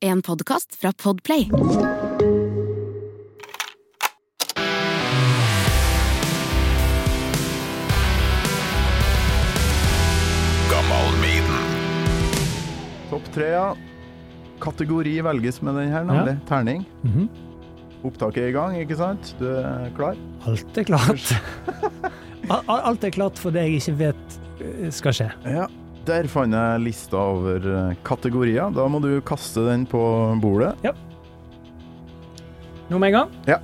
En podkast fra Podplay. Topp tre, ja. Kategori velges med den her, nemlig. Terning. Mhm. Opptaket er i gang, ikke sant? Du er klar? Alt er klart. Al- al- Alt er klart for det jeg ikke vet eh, skal skje. Ja. Der fant jeg lista over eh, kategorier. Da må du kaste den på bordet. Nå med en gang? Ja.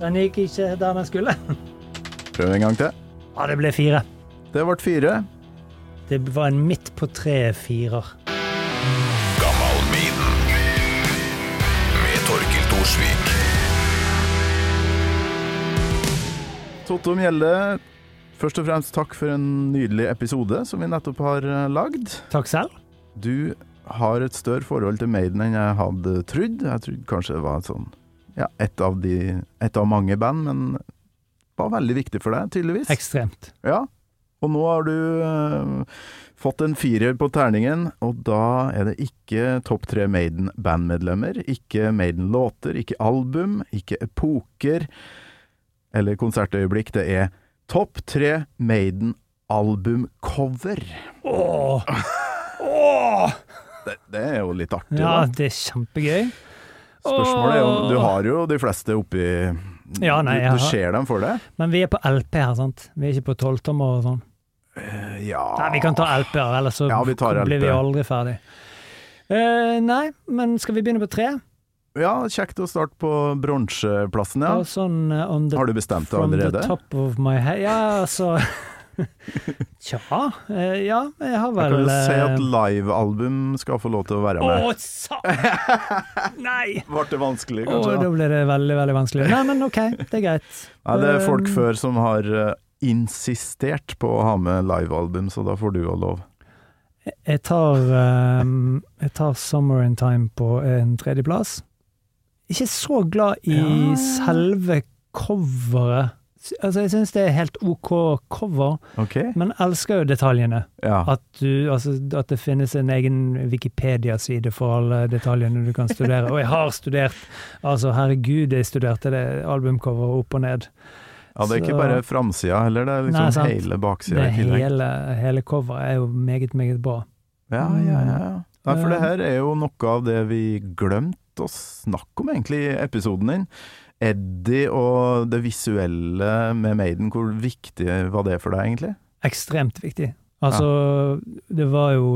Den gikk ikke der den skulle. Prøv en gang til. Ja, det ble fire. Det ble fire. Det var en midt på treet firer. Totto Mjelde, først og fremst takk for en nydelig episode som vi nettopp har eh, lagd. Takk selv. Du har et større forhold til Maiden enn jeg hadde trodd. Jeg trodde kanskje det var et sånn ja, et av, de, et av mange band, men var veldig viktig for deg, tydeligvis. Ekstremt. Ja, og nå har du eh, fått en firer på terningen, og da er det ikke topp tre Maiden-bandmedlemmer, ikke Maiden-låter, ikke album, ikke epoker eller konsertøyeblikk. Det er topp tre Maiden-albumcover. Åh! Åh! Det, det er jo litt artig, Ja, da. det er kjempegøy. Spørsmålet er om du Åh. har jo de fleste oppi Ja, nei, jeg du, du har- ser dem for deg? Men vi er på LP her, sant? Vi er ikke på tolvtommer og sånn. Eh, Ja Nei, vi kan ta LP-er, ellers så Ja, vi tar blir LP. vi aldri ferdig. Eh, nei, men skal vi begynne på tre? Ja, kjekt å starte på bronseplassen, ja. Og sånn eh, on the Har du bestemt deg From allerede? the top of my head Ja, altså Tja. eh, Ja, jeg har Jeg vel kan jo si eh, at livealbum skal få lov til å være Å, med. sa... Nei! Ble det vanskelig, Å, kanskje? da da? ble det veldig, veldig vanskelig. Nei, men OK, det er greit. Nei, det er folk Um, før som har eh, insistert på å ha med livealbum, så da får du òg lov. Jeg tar, ehm, jeg tar Summer in Time på en tredjeplass. Ikke så glad i Ja. selve coveret. S- Altså, jeg syns det er helt OK cover, OK? men elsker jo detaljene. Ja. At, du, altså, at det finnes en egen Wikipedia-side for alle detaljene du kan studere. Og jeg har studert! Altså, herregud, jeg studerte det albumcoveret opp og ned. ja, det er så- ikke bare framsida heller, det er liksom Nei, sant. hele baksida Det i tillegg. hele, hele coveret er jo meget, meget bra. Ja, ja, ja. ja. Nei, for det her er jo noe av det vi glemte å snakke om, egentlig, i episoden din. Eddie og det visuelle med Maiden, hvor viktig var det for deg, egentlig? Ekstremt viktig. Altså, det var jo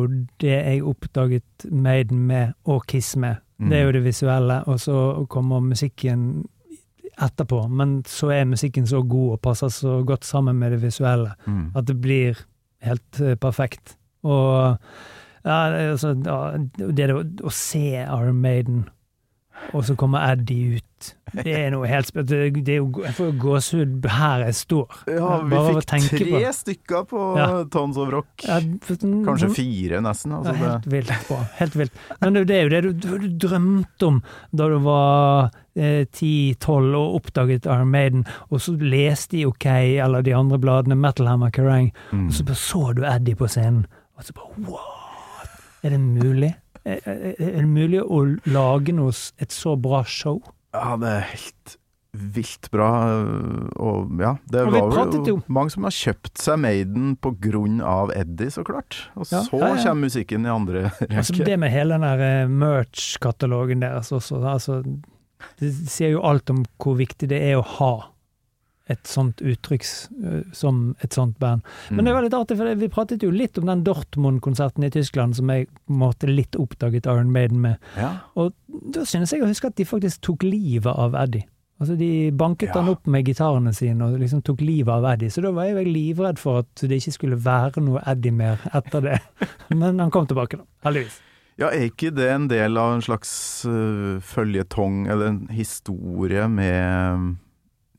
det jeg oppdaget Maiden med, og Kiss med. Mm. Det er jo det visuelle, og så kommer musikken etterpå. Men så er musikken så god og passer så godt sammen med det visuelle. Mm. At det blir helt eh, perfekt. Og ja, det er altså, ja, det, det å, å se Iron Maiden, og så kommer Eddie ut Det er noe helt spe- det, det er jo, Jeg får jo gåsehud her jeg står. Ja, vi Bare av å fikk tenke tre på det. stykker på Ja. Tons of Rock. Ja, for- Kanskje fire, nesten. ja, Altså helt det. vilt bra. Helt vilt. Men det, det er jo det du, du, du drømte om da du var eh, 10-12 og oppdaget Iron Maiden, og så leste de OK, eller de andre bladene, Metal Hammer Kerrang, Mm. Og så bare så du Eddie på scenen, og så bare wow! Er det mulig? Er, er, er det mulig å lage noe, s- et så bra show? Ja, det er helt vilt bra. øh, Og ja, det Og vi var pratet jo jo. mange som har kjøpt seg Maiden på grunn av Eddie, så klart. Og Ja, så ja, ja. kommer musikken i andre Altså, rekke. det med hele den der eh, merch-katalogen deres også, altså, det sier jo alt om hvor viktig det er å ha et sånt uttrykk s- eh, som et sånt band. Men det var litt artig, for vi pratet jo litt om den Dortmund-konserten i Tyskland som jeg på en måte litt oppdaget Iron Maiden med. Mm. ja. Da synes jeg å huske at de faktisk tok livet av Eddie. Altså De banket Ja. han opp med gitarene sine og liksom tok livet av Eddie. Så da var jeg jo livredd for at det ikke skulle være noe Eddie mer etter det. Men han kom tilbake, da. Heldigvis. ja, er ikke det en del av en slags uh, føljetong, eller en historie med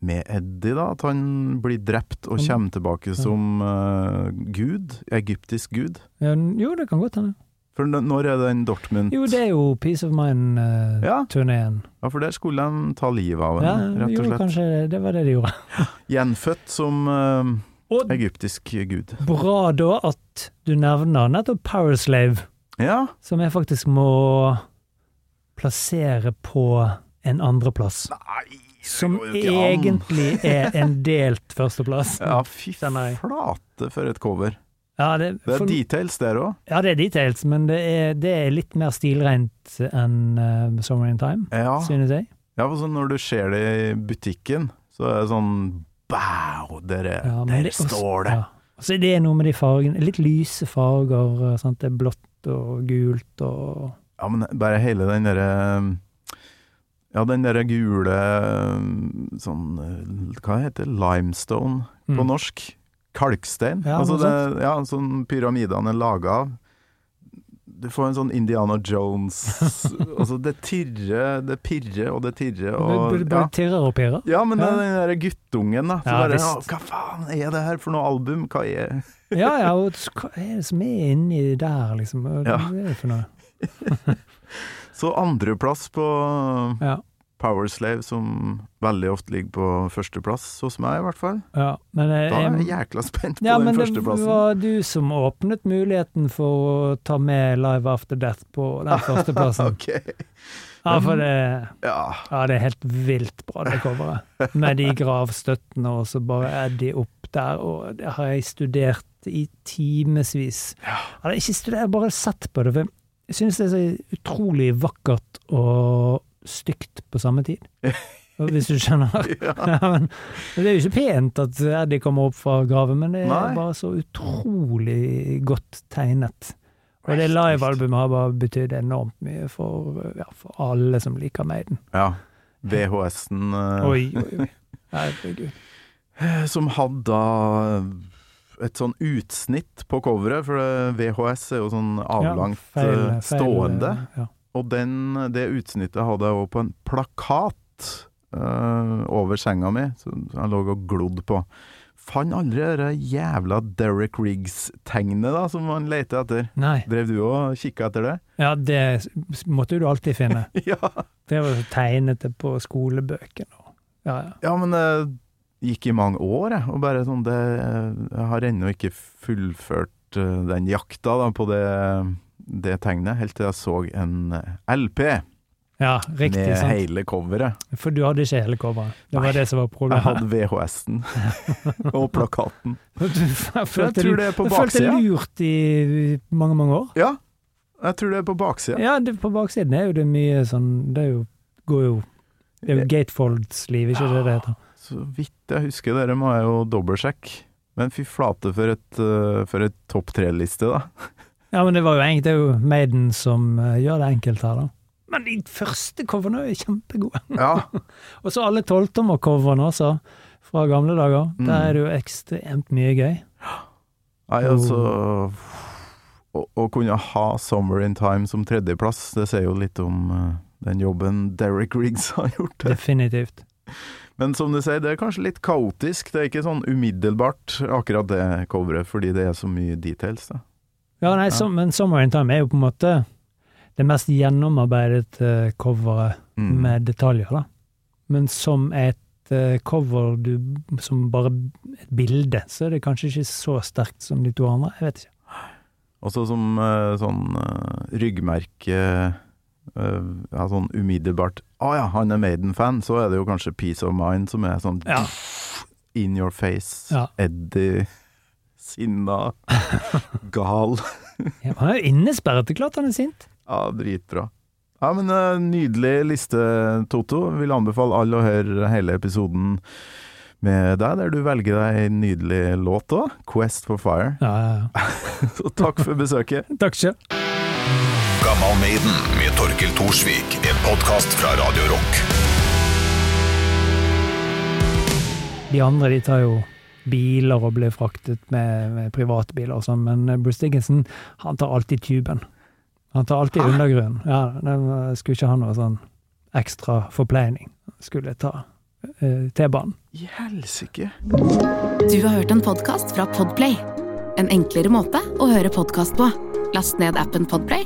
med Eddie, da? At han blir drept og Han- kommer tilbake som eh, gud? Egyptisk gud? Ja, Jo, det kan godt hende. For n- når er den Dortmund Jo, det er jo Peace of Mind-turneen. Ja, ja, for der skulle de ta livet av ja, henne, rett jo, og slett. kanskje det var det de gjorde. Gjenfødt som eh, Og egyptisk gud. bra da at du nevner nettopp Powerslave. Ja, som jeg faktisk må plassere på en andreplass. Nei, Som går jo ikke an. egentlig er en delt førsteplass. Ja, fy Kjenner jeg. flate for et cover. Ja, det, Det er for, details der òg. ja, det er details, men det er, det er litt mer stilrent enn eh, Summer in Time, Ja. synes jeg. ja, for sånn når du ser det i butikken, så er det sånn Wow, dere, Ja, men der det- og s- står det! Ja. Og Så er det noe med de fargene. Litt lyse farger. eh, Sant? Det er blått og gult og Ja, men bare hele den derre Ja, den derre gule sånn Hva heter det? Limestone Mm. på norsk? Kalkstein? Ja, altså noe det, ja, sånn pyramidene er laga av. Du får en sånn Indiana Jones Altså, det tirrer, det pirrer og det tirrer og Bare bare ja. tirrer og pirrer. ja, men det Ja. er den derre guttungen, da. Så Ja, bare, visst. Hva faen er det her for noe album? Hva er Ja, ja, og så hva er det som er inni der, liksom? Hva Ja. er det for noe? Så andreplass på Ja. Powerslave, som veldig ofte ligger på førsteplass hos meg, i hvert fall. Ja, men eh, Da er jeg- jeg jækla spent på ja, den men det førsteplassen. var du som åpnet muligheten for å ta med Live After Death på den førsteplassen. Ok. Ja, for det, Ja. ja, det er helt vilt bra, det coveret. Med de gravstøttene, og så bare er de opp der, og det har jeg studert i timevis. Jeg har ikke studert, bare sett på det. For jeg syns det er så utrolig vakkert og stygt på samme tid. Og Hvis du skjønner. ja. Ja, men, men Det er jo ikke pent at Eddie kommer opp fra graven, men det er Nei. bare så utrolig godt tegnet. Og det livealbumet har bare betydd enormt mye for, ja, for alle som liker Maiden. ja. VHS-en eh, Oi, oi, oi. Herregud. som hadde da et sånn utsnitt på coveret, for det- VHS er jo sånn avlangt Ja, feil- eh, feil- stående. Ja. Og den, det utsnittet hadde jeg òg på en plakat eh, over senga mi, som jeg lå og glodd på. Fant aldri det jævla Derek Riggs-tegnet da, som man leter etter. Nei. Drev du og kikka etter det? Ja, det s- måtte jo du alltid finne. ja. Det var jo tegnet det på skolebøkene. og- Ja, ja. ja, men det gikk i mange år, jeg. Og bare sånn det Jeg har ennå ikke fullført eh, den jakta da, på det, det tegnet, helt til jeg så en LP ja riktig. med sant. hele coveret. For du hadde ikke hele coveret. Det var Nei. det som var Jeg problemet. hadde VHS-en og plakaten. Jeg For jeg tror det er på Jeg følte baksida. lurt i mange, mange år. Ja, jeg tror det er på baksida. Ja, det, på baksiden er jo det mye sånn Det er jo, går jo Det Eh, er jo gatefolds liv, ikke det det heter? Så vidt jeg husker, dere må jeg jo dobbeltsjekke. Men fy flate for et, eh, for et topp tre-liste, da. Ja, men det var jo enkelt. Det er jo Maiden som eh, gjør det enkelt her, da. Men de første coverne er jo kjempegode. Ja, Og så alle tolvtommer-coverne også, fra gamle dager. Mm. Der er det jo ekstremt mye gøy. nei, altså Oh. å, å kunne ha 'Summer in Time' som tredjeplass, det sier jo litt om eh, den jobben Derek Riggs har gjort. Definitivt. Men som du sier, det er kanskje litt kaotisk. Det er ikke sånn umiddelbart, akkurat det coveret, fordi det er så mye details. da. Ja, Ja. nei, som- men 'Summer in Time' er jo på en måte det mest gjennomarbeidede coveret Mm. med detaljer, da. Men som et eh, cover du, som bare et bilde, så er det kanskje ikke så sterkt som de to andre. Jeg vet ikke. Også som eh, sånn eh, ryggmerke eh, ja, Sånn umiddelbart Å ja, han er Maiden-fan, så er det jo kanskje Peace of Mind som er sånn Ja. in your face, Ja. Eddie, sinna, gal. Ja, men han er jo innesperret, det er klart han er sint. Ja, dritbra. Ja, men eh, Nydelig liste, Toto. Vil anbefale alle å høre hele episoden med deg, der du velger deg en nydelig låt òg. 'Quest for Fire'. Ja, ja, Så takk for besøket. ja. Takk sjøl. Gammal Maiden med Torkel Thorsvik. En podkast fra Radio Rock. De andre de tar jo biler og blir fraktet med, med privatbiler og sånn, men Bruce Dickinson han tar alltid tuben. Han tar alltid undergrunnen. Ja, det var- skulle ikke ha noe sånn ekstra forpleining. Skulle ta eh, T-banen. I helsike! Du har hørt en podkast fra Podplay. En enklere måte å høre podkast på. Last ned appen Podplay,